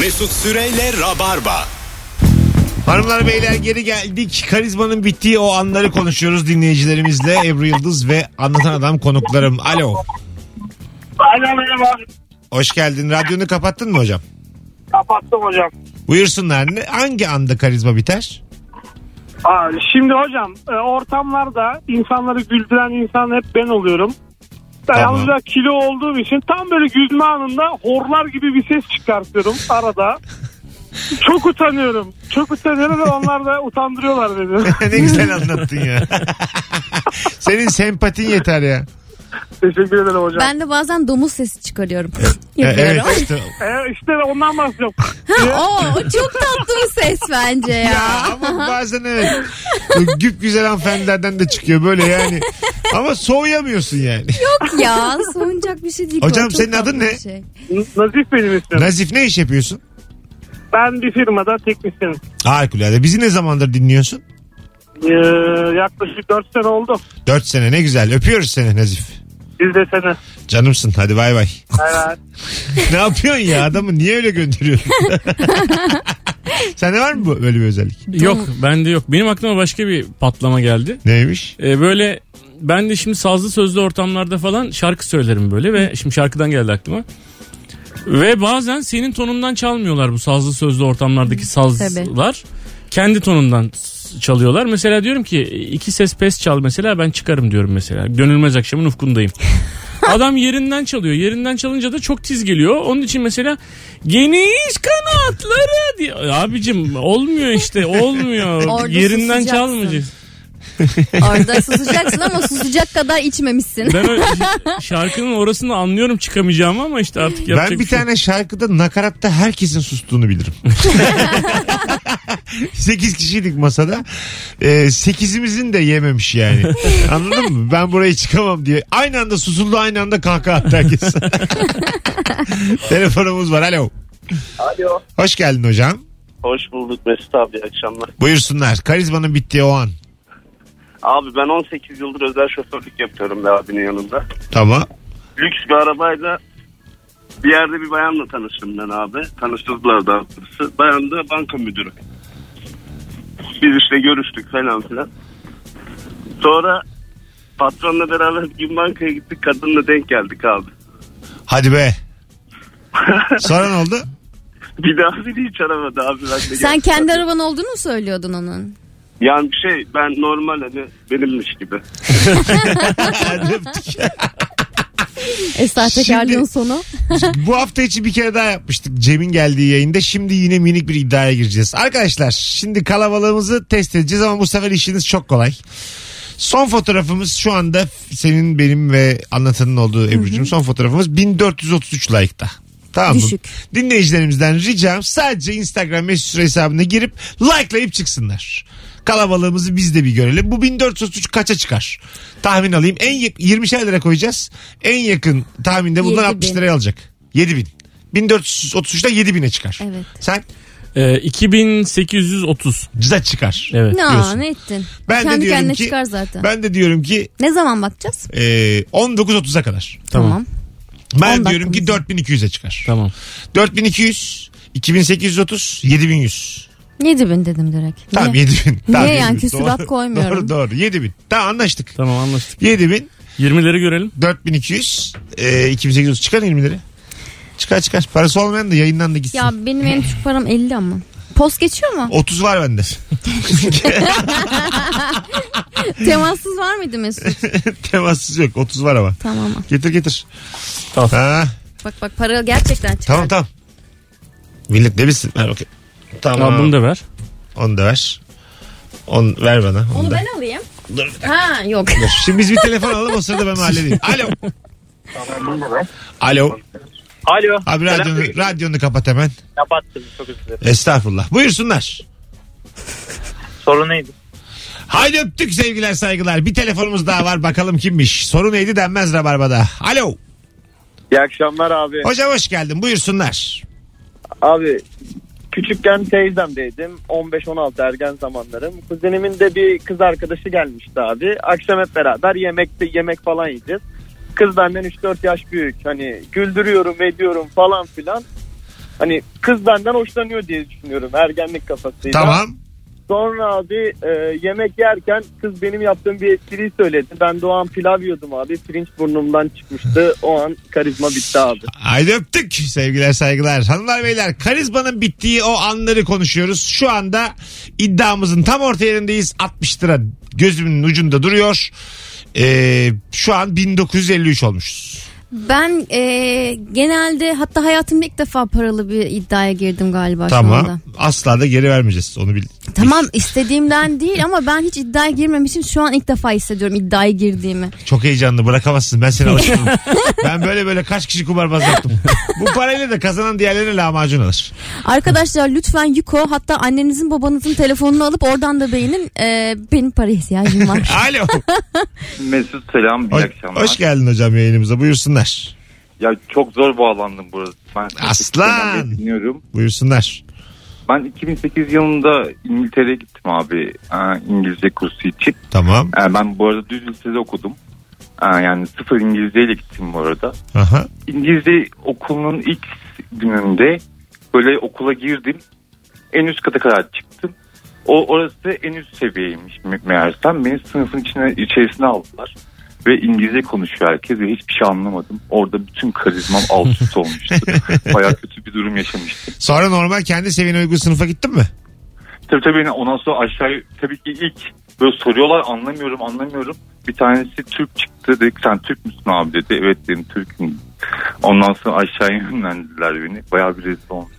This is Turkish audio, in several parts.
Mesut Süreyle Rabarba. Hanımlar beyler geri geldik. Karizmanın bittiği o anları konuşuyoruz dinleyicilerimizle. Ebru Yıldız ve Anlatan Adam konuklarım. Alo. Aynen merhaba. Hoş geldin. Radyonu kapattın mı hocam? Kapattım hocam. Buyursunlar. Ne- Hangi anda karizma biter? Aa, şimdi hocam e, ortamlarda insanları güldüren insan hep ben oluyorum. Ben Tamam. yalnızca kilo olduğum için tam böyle gülme anında horlar gibi bir ses çıkartıyorum arada. Çok utanıyorum. Çok utanıyorum ve onlar da utandırıyorlar beni. ne güzel anlattın ya. Senin sempatin yeter ya. Teşekkür ederim hocam. Ben de bazen domuz sesi çıkarıyorum. E, Yapıyorum. Evet işte. E, işte ondan bahsediyorum. Ha, o, o çok tatlı bir ses bence ya. Ya ama bazen evet. Güp güzel hanımefendilerden de çıkıyor böyle yani. Ama soğuyamıyorsun yani. Yok ya soğunacak bir şey değil. ki, Hocam o çok senin adın tatlı ne? bir Şey. Nazif benim ismim. Nazif ne iş yapıyorsun? Ben bir firmada teknisyenim. Harikulade. Bizi ne zamandır dinliyorsun? E, yaklaşık 4 sene oldu. 4 sene ne güzel. Öpüyoruz seni Nazif. Biz de sene. Canımsın hadi bay bay. Evet. ne yapıyorsun ya adamı niye öyle gönderiyorsun? Sende var mı bu- böyle bir özellik? Yok bende yok. Benim aklıma başka bir patlama geldi. Neymiş? Ee, böyle ben de şimdi sazlı sözlü ortamlarda falan şarkı söylerim böyle ve şimdi şarkıdan geldi aklıma. Ve bazen senin tonundan çalmıyorlar bu sazlı sözlü ortamlardaki sazlar. Kendi tonundan s- çalıyorlar. Mesela diyorum ki iki ses pes çal mesela ben çıkarım diyorum mesela. Gönülmez akşamın ufkundayım. Adam yerinden çalıyor. Yerinden çalınca da çok tiz geliyor. Onun için mesela geniş kanatları diye. Abicim olmuyor işte olmuyor. Orada yerinden susacaksın. çalmayacak. Orada susacaksın ama susacak kadar içmemişsin. Ben o ş- şarkının orasını anlıyorum çıkamayacağım ama işte artık yapacak Ben bir şey yok. tane şarkıda nakaratta herkesin sustuğunu bilirim. 8 kişiydik masada. 8'imizin de yememiş yani. Anladın mı? Ben buraya çıkamam diye. Aynı anda susuldu aynı anda kahkaha attı herkes. Telefonumuz var. Alo. Alo. Hoş geldin hocam. Hoş bulduk Mesut abi iyi akşamlar. Buyursunlar. Karizmanın bittiği o an. Abi ben 18 yıldır özel şoförlük yapıyorum be abinin yanında. Tamam. Lüks bir arabayla bir yerde bir bayanla tanıştım ben abi. Tanıştırdılar da doğrusu. Bayan da banka müdürü. Biz işte görüştük falan filan. Sonra patronla beraber bir gün bankaya gittik. Kadınla denk geldik abi. Hadi be. Sonra ne oldu? Bir daha beni hiç aramadı abi. Ben de Sen geldim. kendi araban olduğunu mu söylüyordun onun? Yani bir şey ben normal hani benimmiş gibi. Hadi öptük. E sahtekarlığın Şimdi- sonu. Bu hafta içi bir kere daha yapmıştık Cem'in geldiği yayında. Şimdi yine minik bir iddiaya gireceğiz. Arkadaşlar şimdi kalabalığımızı test edeceğiz ama bu sefer işiniz çok kolay. Son fotoğrafımız şu anda senin benim ve anlatanın olduğu Ebru'cum son fotoğrafımız 1433 like'ta. Tamam mı? Düşük. Dinleyicilerimizden ricam sadece Instagram mesut süre hesabına girip likelayıp çıksınlar. Kalabalığımızı biz de bir görelim. Bu 1433 kaça çıkar? Tahmin alayım. En yak- 20'şer lira koyacağız. En yakın tahminde bundan 7000. 60 liraya alacak. 7000. 1433'te 7000'e çıkar. Evet. Sen Ee, 2830. cıza çıkar. Evet. Ne, diyorsun. ne ettin? Ben de Kendi diyorum kendine ki- çıkar zaten. Ben de diyorum ki Ne zaman bakacağız? e, 19.30'a kadar. Tamam. Ben 10 diyorum ki 4200'e çıkar. Tamam. 4200, 2830, 7100. 7000 dedim direkt. Tamam Niye? 7000. Niye Tamam, yani? 7000. Küsurat Doğru, Doğru koymuyorum. doğru 7000. Tamam anlaştık. Tamam anlaştık. 7000, 20'leri görelim. 4200, e, 2830 çıkar 20 lira. Çıkar çıkar. Parası olmayan da yayından da gitsin. Ya benim en düşük param 50 ama. Post geçiyor mu? 30 var bende. Temassız var mıydı Mesut? Temassız yok. 30 var ama. tamam. Getir getir. Tamam. Ha, Bak bak para gerçekten çıktı. tamam tamam. Millet ne bilsin? Ver bakayım. Tamam. Aa, bunu da ver. Onu da ver. Onu ver bana. Onu, Onu da. ben alayım. Ha yok. Şimdi biz bir telefon alalım o sırada ben halledeyim. Alo. Alo. Alo. Abi radyonu, radyonu kapat hemen. Kapattım çok özür dilerim. Estağfurullah. Buyursunlar. Soru neydi? Haydi öptük sevgiler saygılar. Bir telefonumuz daha var bakalım kimmiş. Soru neydi denmez Rabarba'da. Alo. İyi akşamlar abi. Hocam hoş geldin buyursunlar. Abi küçükken teyzemdeydim. 15-16 ergen zamanlarım. Kuzenimin de bir kız arkadaşı gelmişti abi. Akşam hep beraber yemekte yemek falan yiyeceğiz. Kız benden 3-4 yaş büyük. Hani güldürüyorum ediyorum falan filan. Hani kız benden hoşlanıyor diye düşünüyorum ergenlik kafasıyla. Tamam. Sonra abi e, yemek yerken kız benim yaptığım bir espriyi söyledi. Ben de o an pilav yiyordum abi. Pirinç burnumdan çıkmıştı. O an karizma bitti abi. Haydi öptük sevgiler saygılar. Hanımlar beyler karizmanın bittiği o anları konuşuyoruz. Şu anda iddiamızın tam orta yerindeyiz. 60 lira gözümün ucunda duruyor. Ee, şu an 1953 olmuşuz. Ben e, genelde hatta hayatımda ilk defa paralı bir iddiaya girdim galiba şu anda. Tamam. Asla da geri vermeyeceğiz onu bil. Tamam istediğimden değil ama ben hiç iddiaya girmemişim. Şu an ilk defa hissediyorum iddiaya girdiğimi. Çok heyecanlı bırakamazsın ben seni alıştırdım. ben böyle böyle kaç kişi kumarbaz yaptım. Bu parayla da kazanan diğerlerine lahmacun alır. Arkadaşlar lütfen Yuko hatta annenizin babanızın telefonunu alıp oradan da beğenin. E, benim para ihtiyacım var. Alo. Mesut selam iyi Hoş, akşamlar. hoş geldin hocam yayınımıza buyursunlar. Ya çok zor bağlandım burada. Ben Aslan! Türkiye'den beri Dinliyorum. Buyursunlar. Ben 2008 yılında İngiltere'ye gittim abi e, İngilizce kursu için. Tamam. E, ben bu arada düz lisede okudum. E, yani sıfır İngilizceyle gittim bu arada. Aha. İngilizce okulunun ilk gününde böyle okula girdim. En üst kata kadar çıktım. O orası en üst seviyeymiş me- meğersem. Beni sınıfın içine içerisine aldılar. Ve İngilizce konuşuyor herkes ve hiçbir şey anlamadım. Orada bütün karizmam alt üst olmuştu. Baya kötü bir durum yaşamıştım. Sonra normal kendi seviyene uygun sınıfa gittin mi? Tabii tabii yani ondan sonra aşağıya tabii ki ilk böyle soruyorlar anlamıyorum anlamıyorum. Bir tanesi Türk çıktı dedik sen Türk müsün abi dedi. Evet dedim Türk'üm. Ondan sonra aşağıya yönlendirdiler beni. Bayağı bir rezil olmuş.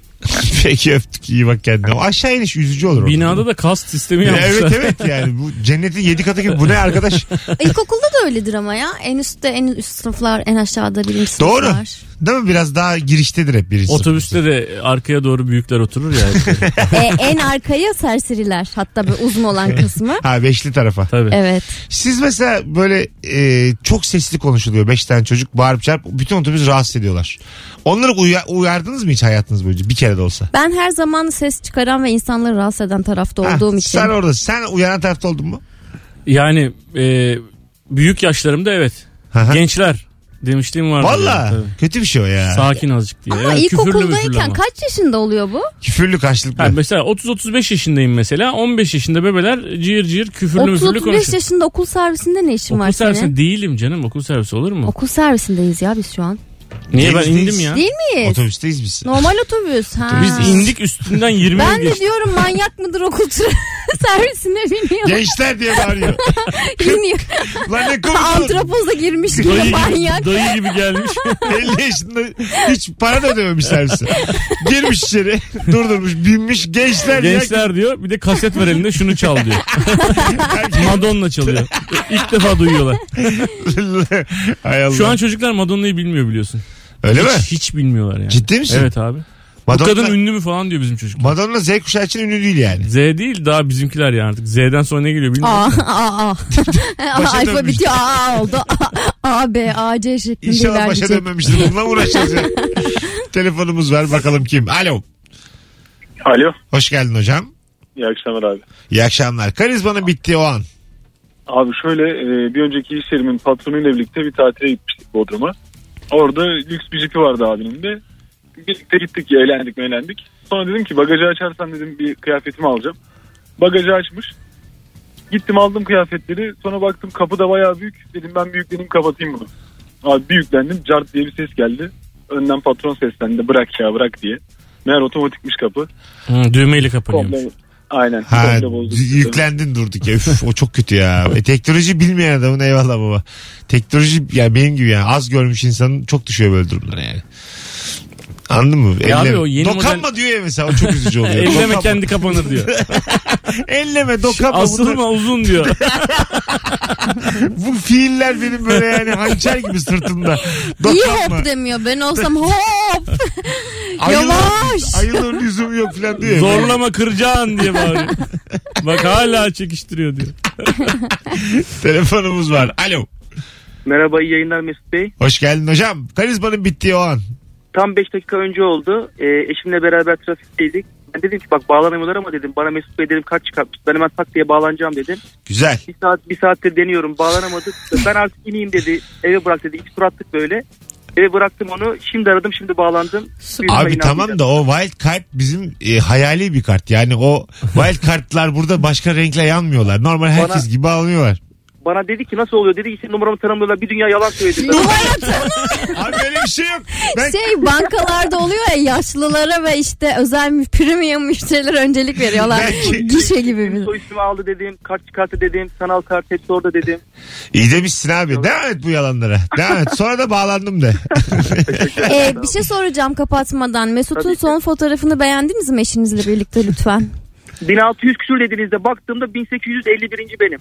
Peki öptük iyi bak kendine. O aşağı iniş üzücü olur. orada. Binada da kast sistemi Ya yapmışlar. evet evet yani bu cennetin yedi katı gibi bu ne arkadaş? İlkokulda da öyledir ama ya. En üstte en üst sınıflar en aşağıda birinci sınıflar. Doğru. Değil mi biraz daha giriştedir hep birisi. Otobüste de arkaya doğru büyükler oturur ya. E, en arkaya serseriler hatta böyle uzun olan kısmı. Ha beşli tarafa. Tabii. Evet. Siz mesela böyle e, çok sesli konuşuluyor. Beş tane çocuk bağırıp çarp bütün otobüs rahatsız ediyorlar. Onları uya- uyardınız mı hiç hayatınız boyunca bir kere de olsa? Ben her zaman ses çıkaran ve insanları rahatsız eden tarafta olduğum Ha, için. Sen orada sen uyaran tarafta oldun mu? Yani e, büyük yaşlarımda evet. Aha. Gençler demişliğim vardı. Valla yani, kötü bir şey o ya. tabii. Sakin azıcık diye. Ama Evet, küfürlü müfürlü ilkokuldayken ama. kaç yaşında oluyor bu? Küfürlü karşılıklı. Ha, mesela 30-35 yaşındayım mesela. 15 yaşında bebeler cıyır cıyır küfürlü müfürlü 30-35 konuşuyor. yaşında okul servisinde ne işin Okul var servisi senin? değilim canım. Okul servisi olur mu? Okul servisindeyiz ya biz şu an. Niye ben Temizliyiz. indim ya? Değil miyiz? Otobüsteyiz biz. Normal otobüs. Ha. Biz indik üstünden 20 Ben de geçtik. diyorum manyak mıdır okul tren- servisine biniyor. Gençler diye bağırıyor. biniyor. Lan ne komik oldu. Antropoza girmiş Dayı gibi manyak. gibi, dayı gibi gelmiş. 50 yaşında hiç para da ödememiş servise. Girmiş içeri durdurmuş binmiş gençler, gençler. Gençler diyor bir de kaset var elinde şunu çal diyor. Madonna çalıyor. İlk defa duyuyorlar. ya. Hay Allah. Şu an çocuklar Madonna'yı bilmiyor biliyorsun. Öyle hiç, mi? Hiç bilmiyorlar yani. Ciddi misin? Evet abi. Madonna, Bu kadın ünlü mü falan diyor bizim çocuk. Madonna Z kuşağı için ünlü değil yani. Z değil daha bizimkiler yani artık. Z'den sonra ne geliyor bilmiyorum. Aa, aa, aa. Başa Alfa dönmüş. bitiyor. Aa oldu. A, A, B, A, C şeklinde İnşallah başa ilerleyecek. dönmemiştir. Bununla uğraşacağız ya. Telefonumuz var bakalım kim. Alo. Alo. Hoş geldin hocam. İyi akşamlar abi. İyi akşamlar. Karizmanın bittiği o an. Abi şöyle e, bir önceki iş yerimin patronuyla birlikte bir tatile gitmiştik Bodrum'a. Orada lüks bir jipi vardı abinin de. Birlikte gittik eğlendik eğlendik. Sonra dedim ki bagajı açarsan dedim bir kıyafetimi alacağım. Bagajı açmış. Gittim aldım kıyafetleri. Sonra baktım kapı da bayağı büyük. Dedim ben büyükleneyim kapatayım bunu. Abi bir yüklendim. Cart diye bir ses geldi. Önden patron seslendi. Bırak ya bırak diye. Meğer otomatikmiş kapı. Hı, düğmeyle kapanıyormuş. Komple- Aynen. Ha, komple bozduk. yüklendin durduk ya. Üf, o çok kötü ya. E, teknoloji bilmeyen adamın eyvallah baba. Teknoloji yani benim gibi yani az görmüş insanın çok düşüyor böyle durumlara yani. Anladın mı? Ya abi Elleme. o yeni dokanma diyor ya mesela o çok üzücü oluyor. Elleme Dokanma. kendi kapanır diyor. Elleme dokanma. Bunlar- Asılma uzun diyor. bu fiiller benim böyle yani hançer gibi sırtımda. İyi Dokanma. hop demiyor. Ben olsam hop. Ayılır- Yavaş. Ayılır lüzum yok falan diyor. ya. Zorlama kıracaksın diye bağırıyor. Bak hala çekiştiriyor diyor. Telefonumuz var. Alo. Merhaba iyi yayınlar Mesut Bey. Hoş geldin hocam. Karizmanın bittiği o an. Tam 5 dakika önce oldu. Ee, eşimle beraber trafikteydik. Ben dedim ki bak bağlanamıyorlar ama dedim bana Mesut Bey dedim kaç çıkartmış. Ben hemen tak diye bağlanacağım dedim. Güzel. Bir saat bir saattir deniyorum bağlanamadık. Ben artık ineyim dedi. Eve bırak dedi. İki tur attık böyle. Eve bıraktım onu. Şimdi aradım şimdi bağlandım. Büyük Abi sayın tamam abiyle. da o wild card bizim e, hayali bir kart. Yani o wild cardlar burada başka renkle yanmıyorlar. Normal herkes Bana- gibi almıyorlar. Bana dedi ki nasıl oluyor dedi ki senin numaramı tanımlıyorlar bir dünya yalan söyledi. Abi öyle bir şey yok. Ben Şey bankalarda oluyor ya yaşlılara ve işte özel premium müşterilere öncelik veriyorlar. Belki. Gişe gibi bir. Soy ismi aldı dedim, kart çıkarttı dedim, sanal kart hepsi orada dedim. İyi demişsin abi. Devam et bu yalanlara. Devam et. Sonra da bağlandım de. Ee, bir şey soracağım kapatmadan. Mesut'un Tabii ki. son fotoğrafını beğendiniz mi eşinizle birlikte lütfen? 1600 küsür dediğinizde baktığımda 1851. benim.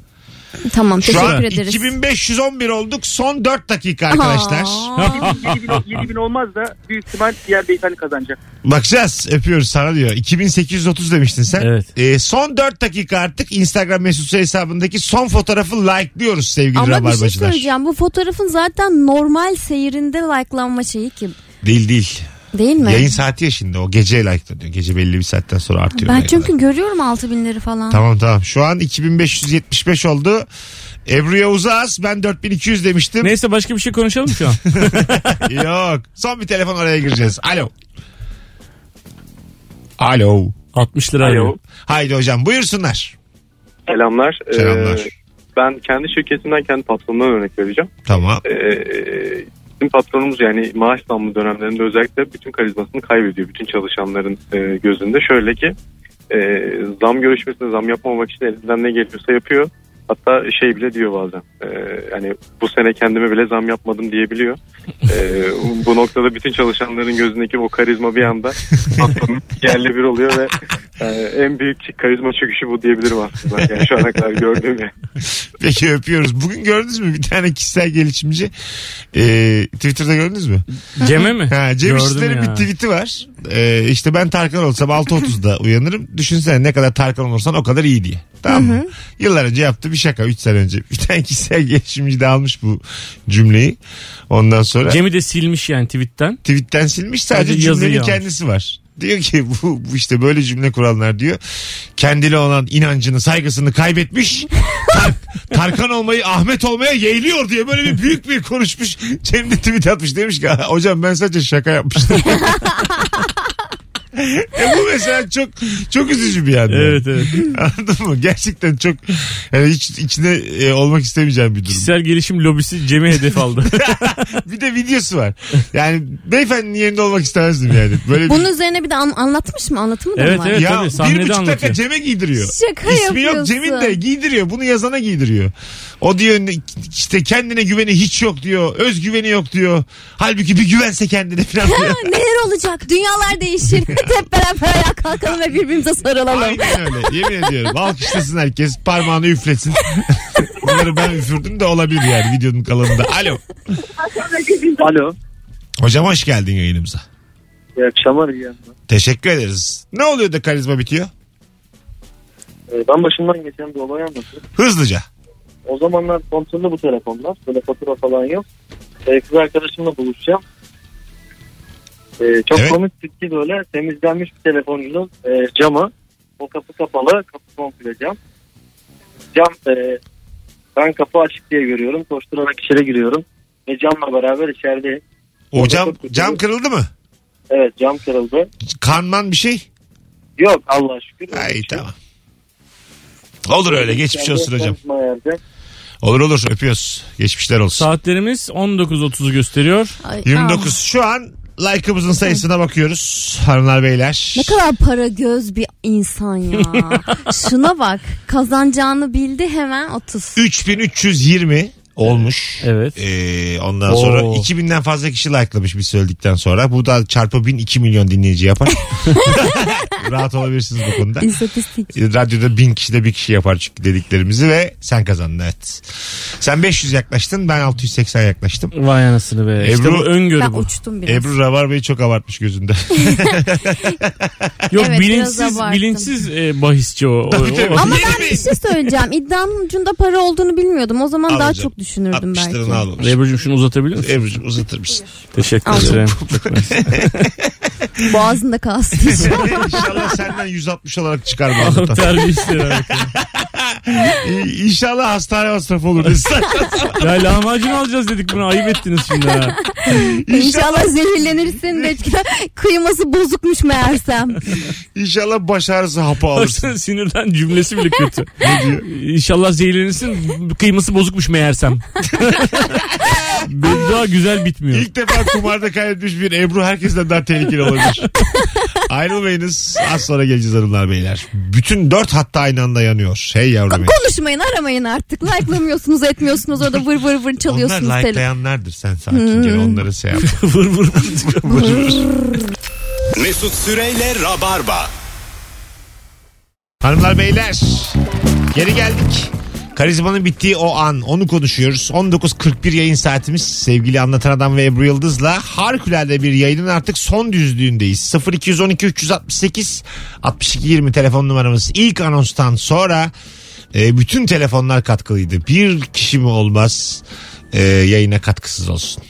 Tamam Şu teşekkür an ederiz. 2511 olduk. Son 4 dakika arkadaşlar. Aa. 7000, 7000 olmaz da büyük ihtimal diğer beyefendi kazanacak. Bakacağız. Öpüyoruz sana diyor. 2830 demiştin sen. Evet. Ee, son 4 dakika artık Instagram mesut Süre hesabındaki son fotoğrafı like'lıyoruz sevgili Ama bir şey rabarbacılar. söyleyeceğim. Bu fotoğrafın zaten normal seyrinde like'lanma şeyi ki. Değil değil. Değil mi? Yayın saati ya şimdi. O gece like'lanıyor. Gece belli bir saatten sonra artıyor. ben like'lar. çünkü görüyorum 6000'leri falan. Tamam tamam. Şu an 2575 oldu. Ebru Yavuz'a az. Ben 4200 demiştim. Neyse başka bir şey konuşalım şu an. Yok. Son bir telefon oraya gireceğiz. Alo. Alo. 60 lira. Alo. Haydi hocam buyursunlar. Selamlar. Ee, Selamlar. ben kendi şirketimden kendi patronumdan örnek vereceğim. Tamam. Ee, bizim patronumuz yani maaş zammı dönemlerinde özellikle bütün karizmasını kaybediyor. Bütün çalışanların e, gözünde. Şöyle ki e, zam görüşmesinde zam yapmamak için elinden ne geliyorsa yapıyor. Hatta şey bile diyor bazen. E, hani bu sene kendime bile zam yapmadım diyebiliyor. E, bu noktada bütün çalışanların gözündeki o karizma bir anda patronun yerli bir oluyor ve e, en büyük karizma çöküşü bu diyebilirim aslında. Yani şu ana kadar gördüğüm yani. Peki öpüyoruz. Bugün gördünüz mü bir tane kişisel gelişimci? Ee, Twitter'da gördünüz mü? Cem'e mi? Ha, Cem Gördüm İşçilerin ya. bir tweet'i var. Ee, işte ben Tarkan olsam 6.30'da uyanırım. Düşünsene ne kadar Tarkan olursan o kadar iyi diye. Tamam mı? Yıllar önce yaptığı bir şaka 3 sene önce. Bir tane kişisel gelişimci de almış bu cümleyi. Ondan sonra Cem'i de silmiş yani tweetten. tweetten silmiş sadece, Sadece yazıyı cümlenin almış. kendisi var. Diyor ki bu, bu işte böyle cümle kuranlar diyor. Kendine olan inancını saygısını kaybetmiş. Tar- Tarkan olmayı Ahmet olmaya yeğliyor diye böyle bir büyük bir konuşmuş. Cem de tweet atmış demiş ki "Ha, hocam ben sadece şaka yapmıştım. e bu mesela çok çok üzücü bir yandan. Evet evet. Anladın mı? Gerçekten çok yani hiç içinde e, olmak istemeyeceğim bir durum. Kişisel gelişim lobisi Cem'i hedef aldı. Bir de videosu var. Yani beyefendinin yerinde olmak istemezdim yani. Böyle bir- Bunun üzerine bir de an- anlatmış mı? Anlatımı da mı Evet, var? evet. ya tabii, bir sahnede buçuk dakika anlatıyor. Cem'e giydiriyor. Şaka İsmi yok yapıyorsun. Cem'in de giydiriyor. Bunu yazana giydiriyor. O diyor ne- işte kendine güveni hiç yok diyor. Özgüveni yok diyor. Halbuki bir güvense kendine falan diyor. Neler olacak? Dünyalar değişir. Hep beraber ayağa kalkalım ve birbirimize sarılalım. Aynen öyle. Yemin ediyorum. Alkışlasın herkes. Parmağını üflesin. Bunları ben üfürdüm de olabilir yani videonun kalanında. Alo. Alo. Hocam hoş geldin yayınımıza. İyi akşamlar. iyi akşamlar. Teşekkür ederiz. Ne oluyor da karizma bitiyor? Ee, Ben başımdan geçen bir olay anlatayım. Hızlıca. O zamanlar kontrollü bu telefonlar. Böyle fatura falan yok. Ee, kız arkadaşımla buluşacağım. Ee, çok Evet. komik tipki böyle temizlenmiş bir telefonunun e, camı. O kapı kapalı. Kapı komple cam. Cam e, ben kapı açık diye görüyorum. Koşturarak içeri giriyorum. Ve camla beraber içeride O cam, cam kırıldı mı? evet cam kırıldı. Kanman bir şey? Yok Allah şükür. Ay tamam. Olur öyle geçmiş Yani olsun hocam. konuşma yerde. Olur olur öpüyoruz. Geçmişler olsun. Saatlerimiz 19.30'u gösteriyor. Ay, aa. 29 şu an like'ımızın sayısına bakıyoruz hanımlar beyler. Ne kadar para göz bir insan ya. Şuna bak. Kazanacağını bildi hemen 30. 3320 olmuş. Evet. Ee, ondan Oo. sonra 2000'den fazla kişi like'lamış biz söyledikten sonra. Bu da çarpı 1000 2 milyon dinleyici yapar. Rahat olabilirsiniz bu konuda. İstatistik. Radyoda bin kişi de bir kişi yapar çünkü dediklerimizi ve sen kazandın evet. Sen 500 yaklaştın ben 680 yaklaştım. Vay anasını be. işte Ebru- bu öngörü Ben bu. uçtum biraz. Ebru Rabarbay'ı çok abartmış gözünde. Yok Evet, biraz bilinçsiz abarttım. bilinçsiz e, bahisçi o. Tabii, O- tabii. o- Ama Yeni ben mi? bir şey söyleyeceğim. İddianın ucunda para olduğunu bilmiyordum. O zaman Al daha hocam. çok düşünürdüm 60 belki. liranı almamış. Ebru'cum şunu uzatabilir misin? Ebru'cum uzatır mısın? Teşekkür Al. ederim. Boğazında kalsın. İnşallah senden 160 olarak çıkar bu Al anlatan. terbiyesiz. İ- İnşallah hastane masrafı olur. dedi. Saçma sapan. Ya lahmacun alacağız dedik buna ayıp ettiniz şimdi ha. İnşallah zehirlenirsin de kıyması bozukmuş meğersem. İnşallah baş ağrısı hapı alırsın. Baksana sinirden cümlesi bile kötü. İnşallah zehirlenirsin kıyması bozukmuş meğersem. Beddua güzel bitmiyor. İlk defa kumarda kaybetmiş bir Ebru herkesten daha tehlikeli olabilir. Ayrılmayınız. Az sonra geleceğiz hanımlar beyler. Bütün dört hatta aynı anda yanıyor. Hey yavrum. benim. Konuşmayın aramayın artık. Like'lamıyorsunuz etmiyorsunuz orada vır vır vır Onlar çalıyorsunuz. telefonu. like'layanlardır sen sakince onları şey yap. vır vır vır. Mesut Süreyle Rabarba. Hanımlar beyler geri geldik. Karizmanın bittiği o an onu konuşuyoruz. 19.41 yayın saatimiz sevgili Anlatan Adam ve Ebru Yıldız'la harikulade bir yayının artık son düzlüğündeyiz. 0212 368 62 20 telefon numaramız. İlk anonstan sonra e, bütün telefonlar katkılıydı. Bir kişi mi olmaz e, yayına katkısız olsun.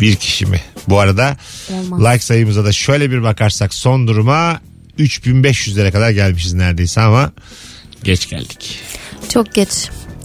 Bir kişi mi? Bu arada Olmaz. like sayımıza da şöyle bir bakarsak son duruma 3500 lira kadar gelmişiz neredeyse ama geç geldik. Çok geç.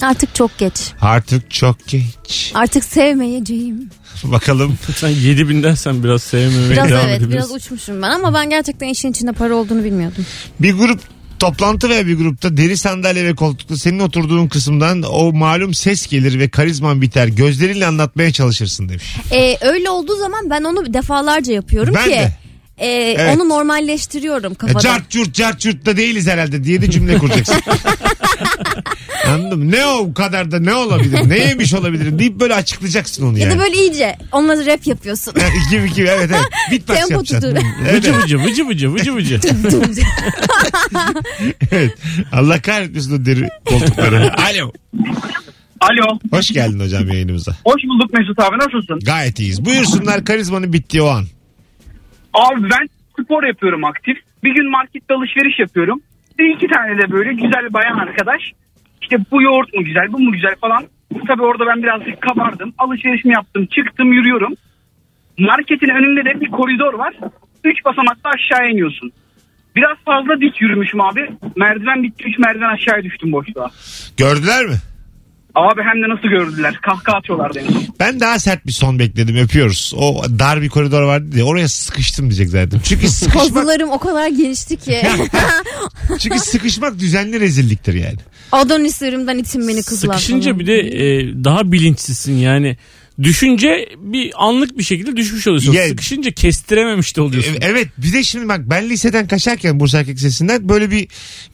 Artık çok geç. Artık çok geç. Artık sevmeyeceğim. Bakalım. Sen 7000'den sen biraz sevmemeye Biraz devam evet biraz edebilirsin. uçmuşum ben ama ben gerçekten işin içinde para olduğunu bilmiyordum. Bir grup toplantı veya bir grupta deri sandalye ve koltukta senin oturduğun kısımdan o malum ses gelir ve karizman biter. Gözlerinle anlatmaya çalışırsın demiş. Ee, öyle olduğu zaman ben onu defalarca yapıyorum Ben ki de. e, Evet. onu normalleştiriyorum E, kafada. cart curt cart curt da değiliz herhalde diye de cümle kuracaksın. Anladın mı? Ne o kadar da ne olabilir? Ne yemiş olabilirim deyip böyle açıklayacaksın onu ya yani. da böyle iyice onunla rap yapıyorsun. Ha, gibi gibi evet evet. Beatbox Tempo yapacaksın. tutur. Evet, Vıcı vıcı vıcı vıcı vıcı vıcı. evet. Allah kahretmesin o deri koltukları. Alo. Alo. Hoş geldin hocam yayınımıza. Hoş bulduk Mesut abi nasılsın? Gayet iyiyiz. Buyursunlar karizmanın bittiği o an. Abi ben spor yapıyorum aktif. Bir gün markette alışveriş yapıyorum. Bir iki tane de böyle güzel bir bayan arkadaş. İşte bu yoğurt mu güzel bu mu güzel falan. Tabii orada ben birazcık kabardım. Alışverişimi yaptım çıktım yürüyorum. Marketin önünde de bir koridor var. Üç basamakta aşağıya iniyorsun. Biraz fazla dik yürümüşüm abi. Merdiven bitti. Üç merdiven aşağıya düştüm boşluğa. Gördüler mi? Abi hem de nasıl gördüler. Kahkaha atıyorlar beni. Ben daha sert bir son bekledim. Öpüyoruz. O dar bir koridor vardı ya oraya sıkıştım diyecek zaten. Çünkü sıkışmak, Kozularım o kadar genişti ki. çünkü sıkışmak düzenli rezilliktir yani. Adonislerimden itin beni kızlar Sıkışınca falan. bir de e, daha bilinçsizsin yani. Düşünce bir anlık bir şekilde düşmüş oluyorsun. Ya- Sıkışınca kestirememiş de oluyorsun. E- Evet bir de şimdi bak ben liseden kaçarken Bursa Erkek Lisesi'nden böyle bir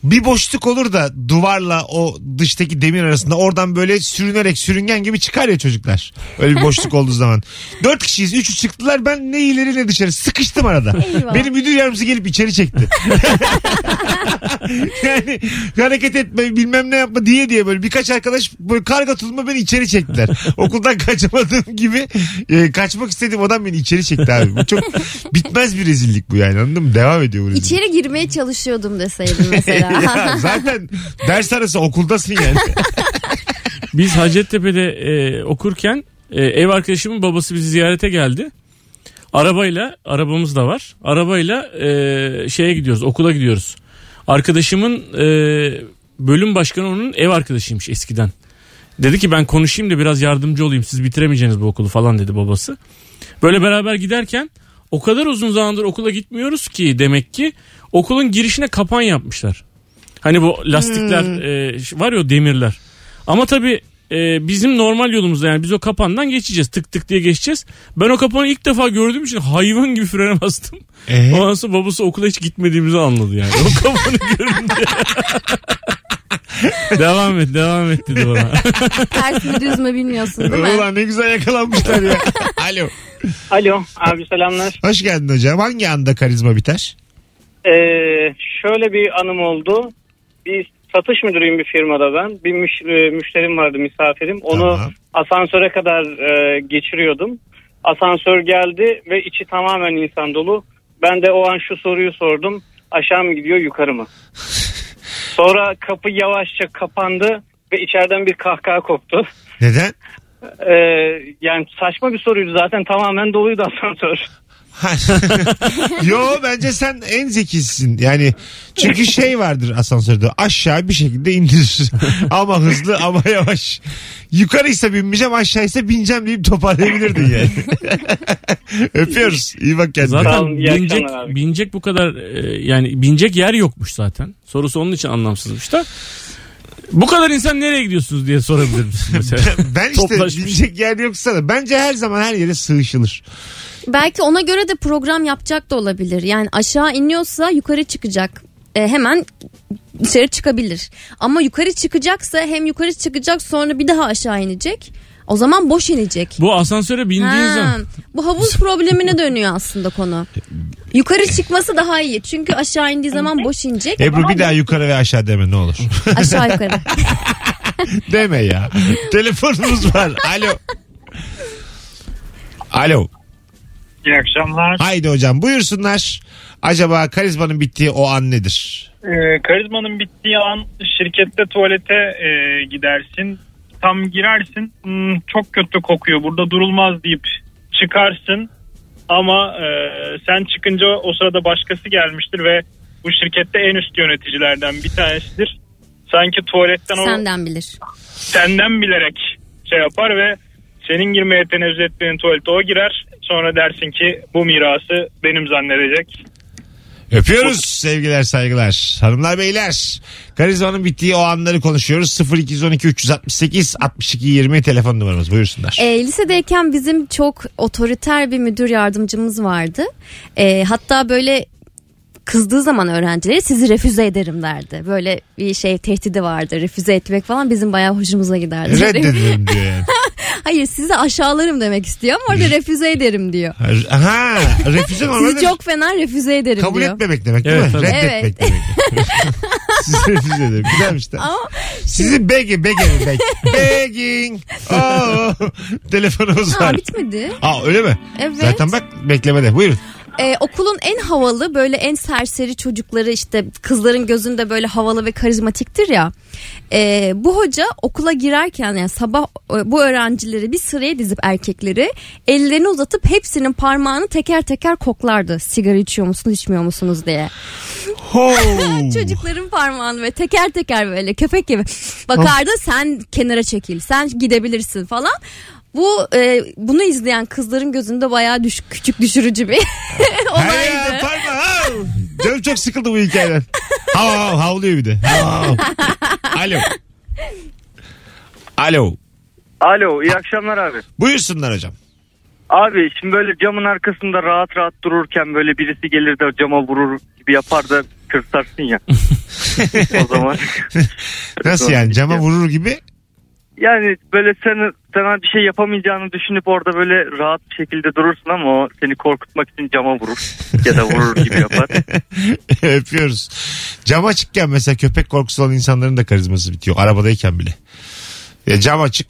bir boşluk olur da duvarla o dıştaki demir arasında oradan böyle sürünerek sürüngen gibi çıkar ya çocuklar. Öyle bir boşluk olduğu zaman. Dört kişiyiz. Üçü çıktılar ben ne ileri ne dışarı sıkıştım arada. Eyvah. Benim müdür yardımcısı gelip içeri çekti. yani hareket etme bilmem ne yapma diye diye böyle birkaç arkadaş böyle karga tutma beni içeri çektiler. Okuldan kaçamadığım gibi e, kaçmak istediğim adam beni içeri çekti abi. Bu çok bitmez bir rezillik bu yani anladın mı? Devam ediyor bu rezillik. İçeri girmeye çalışıyordum deseydin mesela. ya zaten ders arası okuldasın yani. Biz Hacettepe'de e, okurken e, ev arkadaşımın babası bizi ziyarete geldi. Arabayla, arabamız da var. Arabayla e, şeye gidiyoruz, okula gidiyoruz. Arkadaşımın e, bölüm başkanı onun ev arkadaşıymış eskiden. Dedi ki ben konuşayım da biraz yardımcı olayım siz bitiremeyeceğiniz bu okulu falan dedi babası. Böyle beraber giderken o kadar uzun zamandır okula gitmiyoruz ki demek ki okulun girişine kapan yapmışlar. Hani bu lastikler e, var ya o demirler. Ama tabii e, bizim normal yolumuzda yani biz o kapandan geçeceğiz. Tık tık diye geçeceğiz. Ben o kapanı ilk defa gördüğüm için hayvan gibi frene bastım. Ee? Ondan sonra babası okula hiç gitmediğimizi anladı yani. O kapanı görünce. devam et devam et dedi bana. Ters mi düz mü bilmiyorsun değil mi? Ulan ne güzel yakalanmışlar ya. Alo. Alo abi selamlar. Hoş geldin hocam. Hangi anda karizma biter? Ee, şöyle bir anım oldu. Bir satış müdürüyüm bir firmada ben. Bir müş- e, müşterim vardı misafirim. Onu Tamam. asansöre kadar e, geçiriyordum. Asansör geldi ve içi tamamen insan dolu. Ben de o an şu soruyu sordum. Aşağı mı gidiyor yukarı mı? Sonra kapı yavaşça kapandı ve içeriden bir kahkaha koptu. Neden? Ee, yani saçma bir soruydu zaten tamamen doluydu asansör. Yo bence sen en zekisin. Yani çünkü şey vardır asansörde aşağı bir şekilde indirir. ama hızlı ama yavaş. Yukarıysa binmeyeceğim aşağıysa bineceğim deyip toparlayabilirdin yani. Öpüyoruz. İyi bak kendine. Zaten Tamam, iyi binecek, akşamlar abi. binecek bu kadar e, yani binecek yer yokmuş zaten. Sorusu onun için anlamsızmış da. Bu kadar insan nereye gidiyorsunuz diye sorabilir misin mesela? Ben işte Toplaşmış. binecek yer yoksa da bence her zaman her yere sığışılır. Belki ona göre de program yapacak da olabilir. Yani aşağı iniyorsa yukarı çıkacak. E, hemen dışarı çıkabilir. Ama yukarı çıkacaksa hem yukarı çıkacak sonra bir daha aşağı inecek. O zaman boş inecek. Bu asansöre bindiğin Ha, zaman bu havuz problemine dönüyor aslında konu. Yukarı çıkması daha iyi. Çünkü aşağı indiği zaman boş inecek. Ebru bir daha yukarı ve aşağı deme ne olur. Aşağı yukarı. deme ya. Telefonumuz var. Alo. Alo. İyi akşamlar. Haydi hocam buyursunlar. Acaba karizmanın bittiği o an nedir? Ee, karizmanın bittiği an şirkette tuvalete e, gidersin. Tam girersin. "Hmm, çok kötü kokuyor. Burada durulmaz deyip çıkarsın. Ama e, sen çıkınca o sırada başkası gelmiştir ve bu şirkette en üst yöneticilerden bir tanesidir. Sanki tuvaletten o Senden bilir. senden bilerek şey yapar ve senin girmeye tenezzül ettiğin tuvalete o girer. Sonra dersin ki bu mirası benim zannedecek. Öpüyoruz sevgiler saygılar. Hanımlar beyler karizmanın bittiği o anları konuşuyoruz. 0212 368 62 20 telefon numaramız buyursunlar. E, lisedeyken bizim çok otoriter bir müdür yardımcımız vardı. E, hatta böyle kızdığı zaman öğrencileri sizi refüze ederim derdi. Böyle bir şey tehdidi vardı. Refüze etmek falan bizim bayağı hoşumuza giderdi. Reddedilim diyor yani. Hayır sizi aşağılarım demek istiyor ama orada refüze ederim diyor. Ha, refüze Sizi normalde çok fena refüze ederim kabul diyor. etmemek demek değil Evet, mi? tabii. Reddetmek demek. Sizi refüze ederim. Güzelmiş de. Ama Sizi begging, begging, begging. begging. Oo. Telefonumuz var. ha, bitmedi. Aa öyle mi? Evet. Zaten bak beklemede. Buyurun. Ee, okulun en havalı böyle en serseri çocukları işte kızların gözünde böyle havalı ve karizmatiktir ya. Ee, bu hoca okula girerken yani sabah e, bu öğrencileri bir sıraya dizip erkekleri ellerini uzatıp hepsinin parmağını teker teker koklardı. Sigara içiyor musunuz içmiyor musunuz diye. Ho. Çocukların parmağını ve teker teker böyle köpek gibi bakardı sen kenara çekil sen gidebilirsin falan. Bu e, bunu izleyen kızların gözünde bayağı düş, küçük düşürücü bir Hayır olaydı. parma. hav. Canım çok sıkıldı bu hikayeden. Hav hav havlıyor bir de. Hav, hav. Alo. Alo. Alo iyi akşamlar abi. Buyursunlar hocam. Abi şimdi böyle camın arkasında rahat rahat dururken böyle birisi gelir de cama vurur gibi yapar da kırsarsın ya. o zaman. Nasıl yani cama vurur gibi? Yani böyle sen sana bir şey yapamayacağını düşünüp orada böyle rahat bir şekilde durursun ama o seni korkutmak için cama vurur ya da vurur gibi yapar. Öpüyoruz. Cam açıkken mesela köpek korkusu olan insanların da karizması bitiyor. Arabadayken bile. Ya cam açık.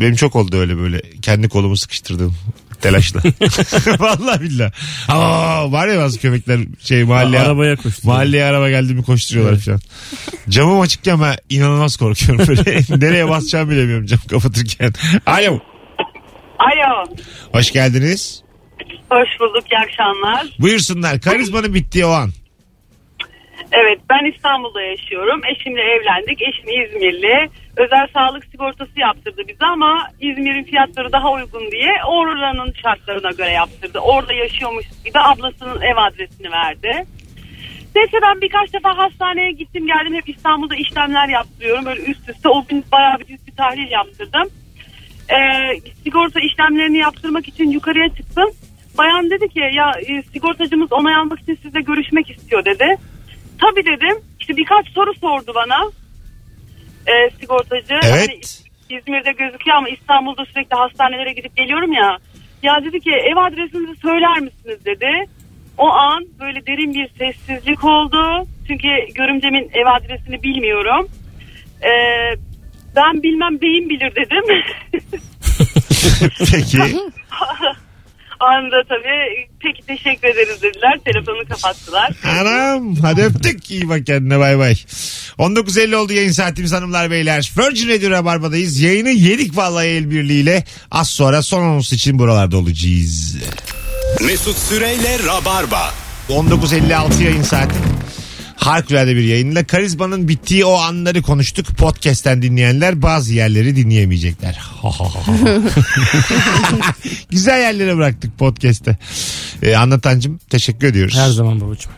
Benim çok oldu öyle böyle. Kendi kolumu sıkıştırdım. Telaşla. Vallahi billah. Aa, var ya bazı köpekler şey mahalleye. arabaya koştu. Mahalleye araba geldi mi koşturuyorlar falan. Camım açıkken ben inanılmaz korkuyorum böyle. Nereye basacağımı bilemiyorum cam kapatırken. Alo. Alo. Hoş geldiniz. Hoş bulduk. İyi akşamlar. Buyursunlar. Karizmanın bittiği o an. Evet ben İstanbul'da yaşıyorum. Eşimle evlendik. Eşim İzmirli. Özel sağlık sigortası yaptırdı bize ama İzmir'in fiyatları daha uygun diye oranın şartlarına göre yaptırdı. Orada yaşıyormuş gibi ablasının ev adresini verdi. Neyse ben birkaç defa hastaneye gittim geldim hep İstanbul'da işlemler yaptırıyorum. Böyle üst üste o gün bayağı bir ciddi tahlil yaptırdım. Ee, sigorta işlemlerini yaptırmak için yukarıya çıktım. Bayan dedi ki ya e, sigortacımız onay almak için sizle görüşmek istiyor dedi. Tabii dedim. İşte birkaç soru sordu bana. Ee, sigortacı. Hani Evet. İzmir'de gözüküyor ama İstanbul'da sürekli hastanelere gidip geliyorum ya. Ya dedi ki ev adresinizi söyler misiniz dedi. O an böyle derin bir sessizlik oldu. Çünkü görümcemin ev adresini bilmiyorum. Ee, ben bilmem beyim bilir dedim. hani- Peki. Anında tabii peki teşekkür ederiz dediler. Telefonu kapattılar. Anam hadi öptük iyi bak kendine bay bay. 19.50 oldu yayın saatimiz hanımlar beyler. Virgin Radio Rabarba'dayız. Yayını yedik vallahi el birliğiyle. Az sonra son anons için buralarda olacağız. Mesut Süreyle Rabarba. 19.56 yayın saati. Harikulade bir yayınla karizmanın bittiği o anları konuştuk. Podcast'ten dinleyenler bazı yerleri dinleyemeyecekler. Ha ha ha ha. Güzel yerlere bıraktık podcast'te. Ee, anlatancım teşekkür ediyoruz. Her zaman babacığım.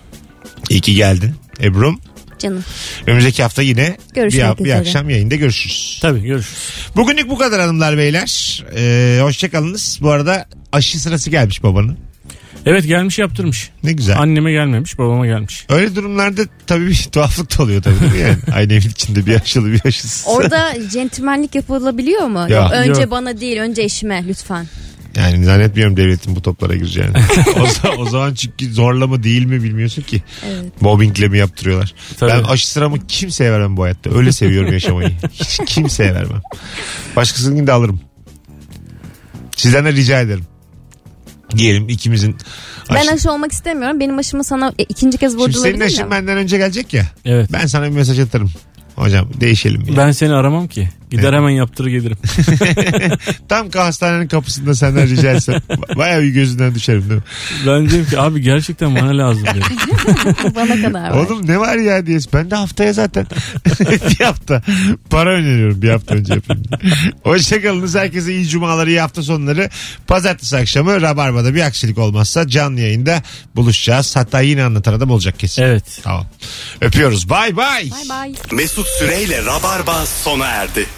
İyi ki geldin. Ebru'm Canım. önümüzdeki hafta yine Görüşmek bir, bir üzere. akşam yayında görüşürüz. Tabii görüşürüz. Bugünlük bu kadar hanımlar beyler. Ee, hoşçakalınız. Bu arada aşı sırası gelmiş babanın. Evet gelmiş yaptırmış. Ne güzel. Anneme gelmemiş babama gelmiş. Öyle durumlarda tabii bir tuhaflık da oluyor tabii değil mi? Yani aynı evin içinde bir aşılı bir aşısız. Orada centilmenlik yapılabiliyor mu? Ya. Yok, önce Yok. bana değil önce eşime lütfen. Yani zannetmiyorum devletin bu toplara gireceğini. o, za- o zaman çünkü zorla mı değil mi bilmiyorsun ki. Mobbingle mi yaptırıyorlar. Tabii. Ben aşı sıramı kimseye vermem bu hayatta. Öyle seviyorum yaşamayı. Hiç kimseye vermem. Başkasının de alırım. Sizden de rica ederim. Diyelim ikimizin Ben aşı- aşı olmak istemiyorum. Benim aşıma sana e, ikinci kez Şimdi senin vurdurulabilir aşın mi? benden önce gelecek ya. Evet. Ben sana bir mesaj atarım. Hocam değişelim. ya. Ben seni aramam ki. Gider hemen yaptırır gelirim. Tam ki hastanenin kapısında senden rica etsem. Bayağı bir gözünden düşerim değil mi? ben dedim ki abi gerçekten bana lazım dedim. Bana kadar var. Oğlum ne var ya diye. Ben de haftaya zaten bir hafta para öneriyorum bir hafta önce yapayım diye. Hoşçakalınız. Herkese iyi cumaları, iyi hafta sonları. Pazartesi akşamı Rabarba'da bir aksilik olmazsa canlı yayında buluşacağız. Hatta yine anlatan adam olacak kesin. Evet. Tamam. Öpüyoruz. Bay bay. Bay bay. Mesut Süreyle Rabarba sona erdi.